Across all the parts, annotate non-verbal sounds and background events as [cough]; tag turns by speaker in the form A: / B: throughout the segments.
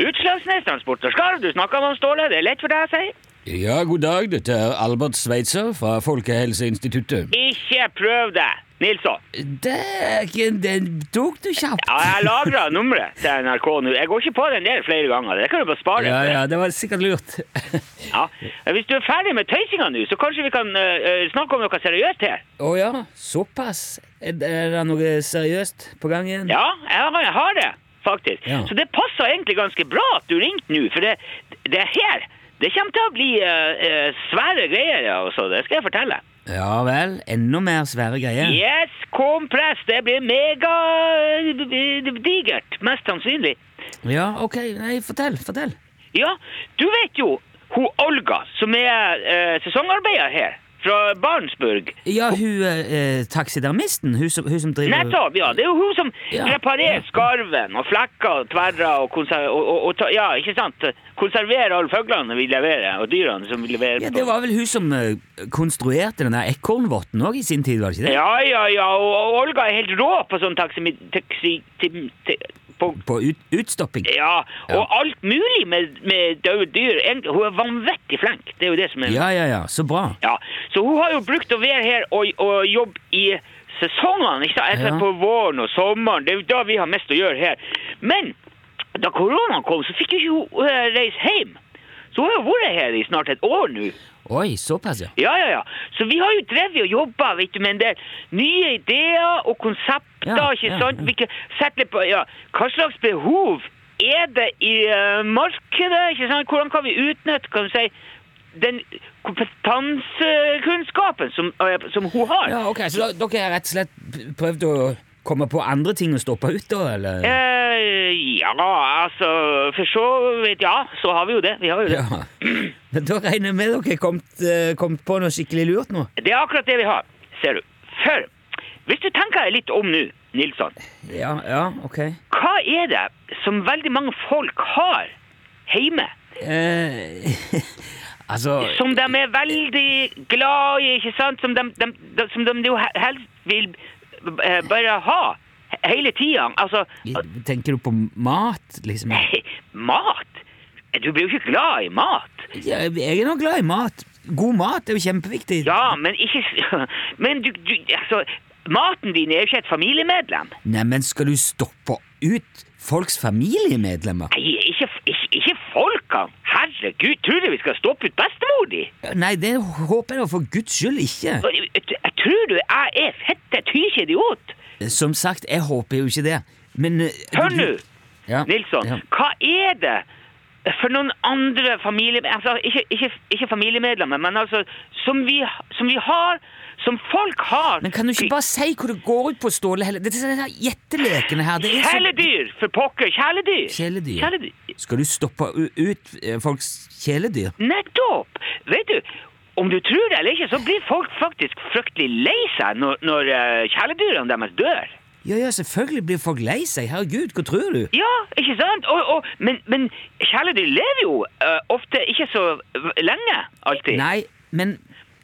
A: Utslagsnes Transport og Skarv, du snakker med om Ståle, det er lett for deg å si.
B: Ja, god dag. Dette er Albert Sveitser fra Folkehelseinstituttet.
A: Ikke prøv deg, Nilsson.
B: Dæken, den tok du kjapt.
A: Ja, jeg lagra nummeret til NRK nå. Jeg går ikke på den der flere ganger. Det kan du bare spare.
B: Ja,
A: for.
B: ja, det var sikkert lurt.
A: Ja. Hvis du er ferdig med tøysinga nå, så kanskje vi kan eh, eh, snakke om noe seriøst her.
B: [laughs] Å ja, såpass. Er det er det noe seriøst på gang igjen?
A: Ja, jeg har, jeg har det, faktisk.
B: Ja.
A: Så det passer egentlig ganske bra at du ringte nå, for det, det her det kommer til å bli eh, eh, svære greier, ja, altså. Det skal jeg fortelle.
B: Ja vel, enda mer svære greier.
A: Yes, kompress! Det blir megadigert, mest sannsynlig.
B: Ja, ok, nei, fortell, fortell.
A: Ja, du vet jo hun Olga, som er eh, sesongarbeider her, fra Barentsburg.
B: Ja, hun eh, taksidermisten, hun som, hun som driver
A: Nettopp, ja. Det er jo hun som
B: Ja,
A: reparerer
B: ja.
A: skarven og flekker og tverrer og, konser og, og, og ta- Ja, ikke sant? Konserverer alle fuglene vi leverer, og dyrene som vi leverer.
B: Ja,
A: på.
B: det var vel hun som eh, konstruerte den der ekornvotten òg i sin tid, var det ikke det?
A: Ja, ja, ja. Og, og Olga er helt rå på sånn taksimi... Taksi, tim, ti- på,
B: På ut, utstopping.
A: ja, og alt mulig med, med døde dyr. Egentlig, Hun er vanvittig flink. Det er jo det som er
B: Ja, ja, ja, så bra.
A: Ja, så hun har jo brukt å være her og, og jobbe i sesongene, ikke sant? Etter
B: Ja.
A: på våren og sommeren, det er jo da vi har mest å gjøre her. Men da koronaen kom, så fikk jo ikke hun eh, reise hjem. Så hun har jo vært her i snart et år nå.
B: Oi, såpass, ja.
A: Ja, ja, ja. Så vi har jo drevet og jobba vet du, med en del nye ideer og konsepter.
B: Ja,
A: ikke
B: ja,
A: sant?
B: ja.
A: Vi kan sette litt på ja. Hva slags behov er det i eh, markedet? ikke sant? Hvordan kan vi utnytte kan du si, den kompetansekunnskapen som, eh, som hun har?
B: Ja, ok, Så da, dere har rett og slett p- prøvd å komme på andre ting å stoppe ut, da? eller?
A: Eh, ja, altså For så vidt, ja. Så har vi jo det. Vi har jo det.
B: Ja. Men da regner jeg med dere har kommet, eh, kommet på noe skikkelig lurt nå?
A: Det er akkurat det vi har, ser du. For hvis du tenker deg litt om nå, Nilsson.
B: Ja, ja, ok.
A: Hva er det som veldig mange folk har hjemme,
B: Eh, [laughs] altså
A: som de er veldig glad i, ikke sant? Som de, de, de, som de jo he- helst vil eh, bare ha he- hele tida. Altså [laughs]
B: Tenker du på mat, liksom?
A: eh, Mat! Du blir jo ikke glad i mat.
B: Ja, jeg er nå glad i mat. God mat er jo kjempeviktig.
A: Ja, men ikke s- [laughs] Men du, du Altså, maten din er jo ikke et familiemedlem.
B: Nei, men skal du stoppe ut folks familiemedlemmer?
A: Nei, ikke, ikke, ikke folka. Herregud, tror du vi skal stoppe ut bestemor di?
B: Nei, det håper jeg da for guds skyld ikke.
A: Jeg- jeg- jeg Tror du jeg er fette tykjediot?
B: Som sagt, jeg håper jo ikke det. Men eh,
A: Hør nå,
B: Ja,
A: Nilsson.
B: ja.
A: Hva er det for noen andre familie... Altså, ikke, ikke, ikke familiemedlemmer, men altså som vi, som vi har Som folk har
B: Men kan du ikke bare si hvor det går ut på, Ståle? heller? Dette er disse gjettelekene her. Det er så-
A: Kjæledyr! For pokker, kjæledyr!
B: Kjæledyr. Skal du stoppe u- ut eh, folks kjæledyr?
A: Nettopp! Vet du, om du tror det eller ikke, så blir folk faktisk fryktelig lei seg når, når eh, kjæledyrene deres dør.
B: Ja, ja, selvfølgelig blir folk lei seg. Herregud, hva tror du?
A: Ja, ikke sant? Og, og, men, men kjæledyr lever jo eh, ofte ikke så v- lenge, alltid.
B: Nei, men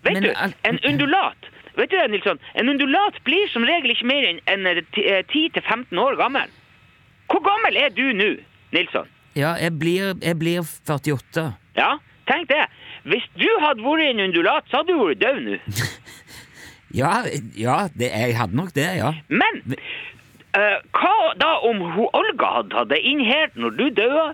A: Vet
B: men,
A: du,
B: al-
A: en undulat Vet du det, Nilsson? En undulat blir som regel ikke mer enn enn, eh, ti- eh, 10-15 år gammel. Hvor gammel er du nå, Nilsson?
B: Ja, jeg blir, jeg blir 48.
A: Ja, tenk det. Hvis du hadde vært en undulat, så hadde du vært død nå.
B: Ja, ja det, jeg hadde nok det, ja.
A: Men eh, hva da om hun Olga hadde tatt deg inn her når du døde,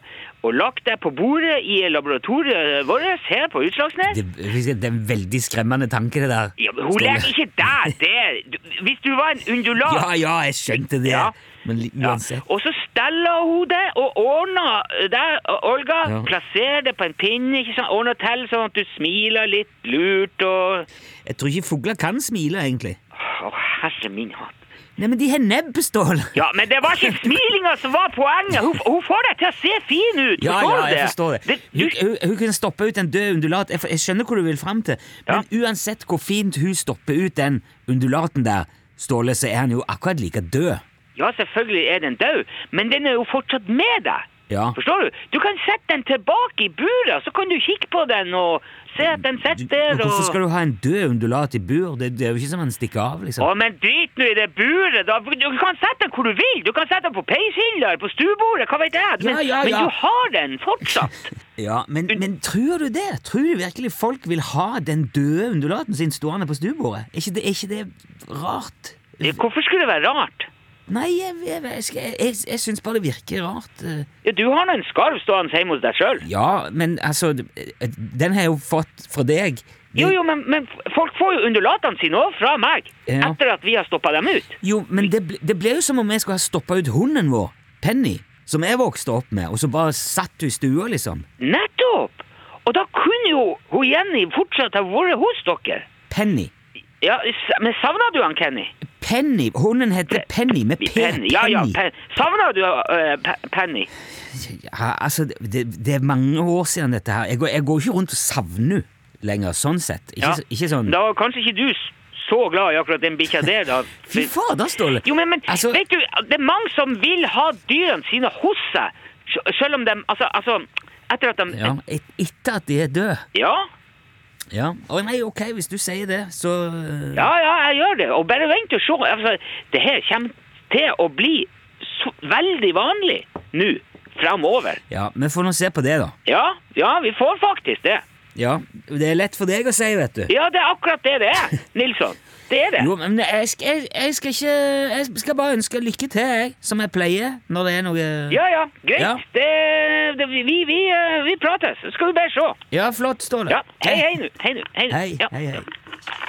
A: og lagt deg på bordet i laboratoriet vårt her på Utslagsnes?
B: Det, det er en veldig skremmende tanke, det der.
A: Ja, men hun
B: Ståle.
A: lever ikke der, der. Du- Hvis du var en undulat
B: Ja, ja, jeg skjønte det.
A: Ja.
B: Men li-
A: Ja.
B: uansett
A: Og så steller hun det og ordner det, Olga.
B: Ja.
A: Plasserer det på en pinne, ikke sant? ordner til sånn at du smiler litt lurt og
B: Jeg tror ikke fugler kan smile, egentlig.
A: Å, herre min hatt.
B: Nei, men de har nebb, Ståle.
A: Ja, men det var ikke smilinga som var poenget! Hun, hun får deg til å se fin ut!
B: Ja,
A: forstår
B: ja,
A: du
B: jeg forstår det.
A: du,
B: Hun, hun, hun kunne stoppe ut en død undulat. Jeg, for- jeg skjønner hvor du vil fram til. Men uansett hvor fint hun stopper ut den undulaten der, Ståle, så er han jo akkurat like død.
A: ja, selvfølgelig er den død, men den er jo fortsatt med deg.
B: Ja.
A: Forstår du? Du kan sette den tilbake i buret, så kan du kikke på den og se at den
B: Du,
A: sitter
B: men
A: der.
B: hvorfor
A: Og...
B: skal du ha en død undulat i bur? Det, det er jo ikke som en stikker av, liksom.
A: Å, men drit nå i det buret, da. Du kan sette den hvor du vil. Du kan sette den på peishylla eller på stuebordet, hva vet jeg. Men,
B: Ja, ja,
A: men
B: ja.
A: du har den
B: [laughs]
A: fortsatt.
B: Ja, men, men tror du det? Tror du virkelig folk vil ha den døde undulaten sin stående på stuebordet? Er ikke det, er ikke det rart?
A: Hvorfor skulle det være rart?
B: Nei, jeg, jeg, jeg, skal- jeg, jeg syns bare det virker rart. eh.
A: Ja, du har nå en skarv stående hjemme hos deg sjøl.
B: Ja, men altså, den har jeg jo fått fra deg.
A: Jo, jo, men, men folk får jo undulatene sine òg fra meg,
B: Ja.
A: etter at vi har stoppa dem ut.
B: Jo, men det, ble- det ble jo som om jeg skulle ha stoppa ut hunden vår, Penny, som jeg vokste opp med, og så bare satt du i stua, liksom.
A: Nettopp! Og da kunne jo hun Jenny fortsatt ha vært hos dere.
B: Penny.
A: Ja, s- men savna du han, Kenny?
B: Penny. Hunden heter Penny, med P.
A: Penny. Ja, ja, pen. Savna du eh, Pe- Penny?
B: Ja, altså, det, det det er mange år siden dette her. Jeg går, jeg går ikke rundt og savner henne lenger, sånn sett. Ikke,
A: Ja.
B: så- ikke sånn
A: Da var kanskje ikke du s- så glad i akkurat den bikkja der, da.
B: [laughs] Fy fader, Ståle!
A: Jo, men, men
B: altså,
A: vet du, det er mange som vil ha dyrene sine hos seg, sj- selv om de Altså, altså etter at de
B: ja, et, Etter at de er døde.
A: ja.
B: Ja. Å nei, ok, hvis du sier det, så eh,
A: Ja, ja, jeg gjør det. Og bare vent og se. Altså, det her kommer til å bli så veldig vanlig nå framover.
B: Ja, vi får nå se på det, da.
A: Ja, ja, vi får faktisk det.
B: Ja, Det er lett for deg å si, vet du.
A: Ja, det er akkurat det det
B: [laughs]
A: er, Nilsson. Det er det.
B: Jo, men jeg skal, jeg, jeg skal ikke Jeg skal bare ønske lykke til, jeg, som jeg pleier når det er noe
A: Ja, ja, greit.
B: Ja.
A: Det, det, vi, vi, eh, vi prates. Så skal du bare se.
B: Ja, flott, Ståle.
A: Ja, hei, hei nå. Hei nå. Hei, nå.
B: Hei,
A: ja.
B: hei, hei.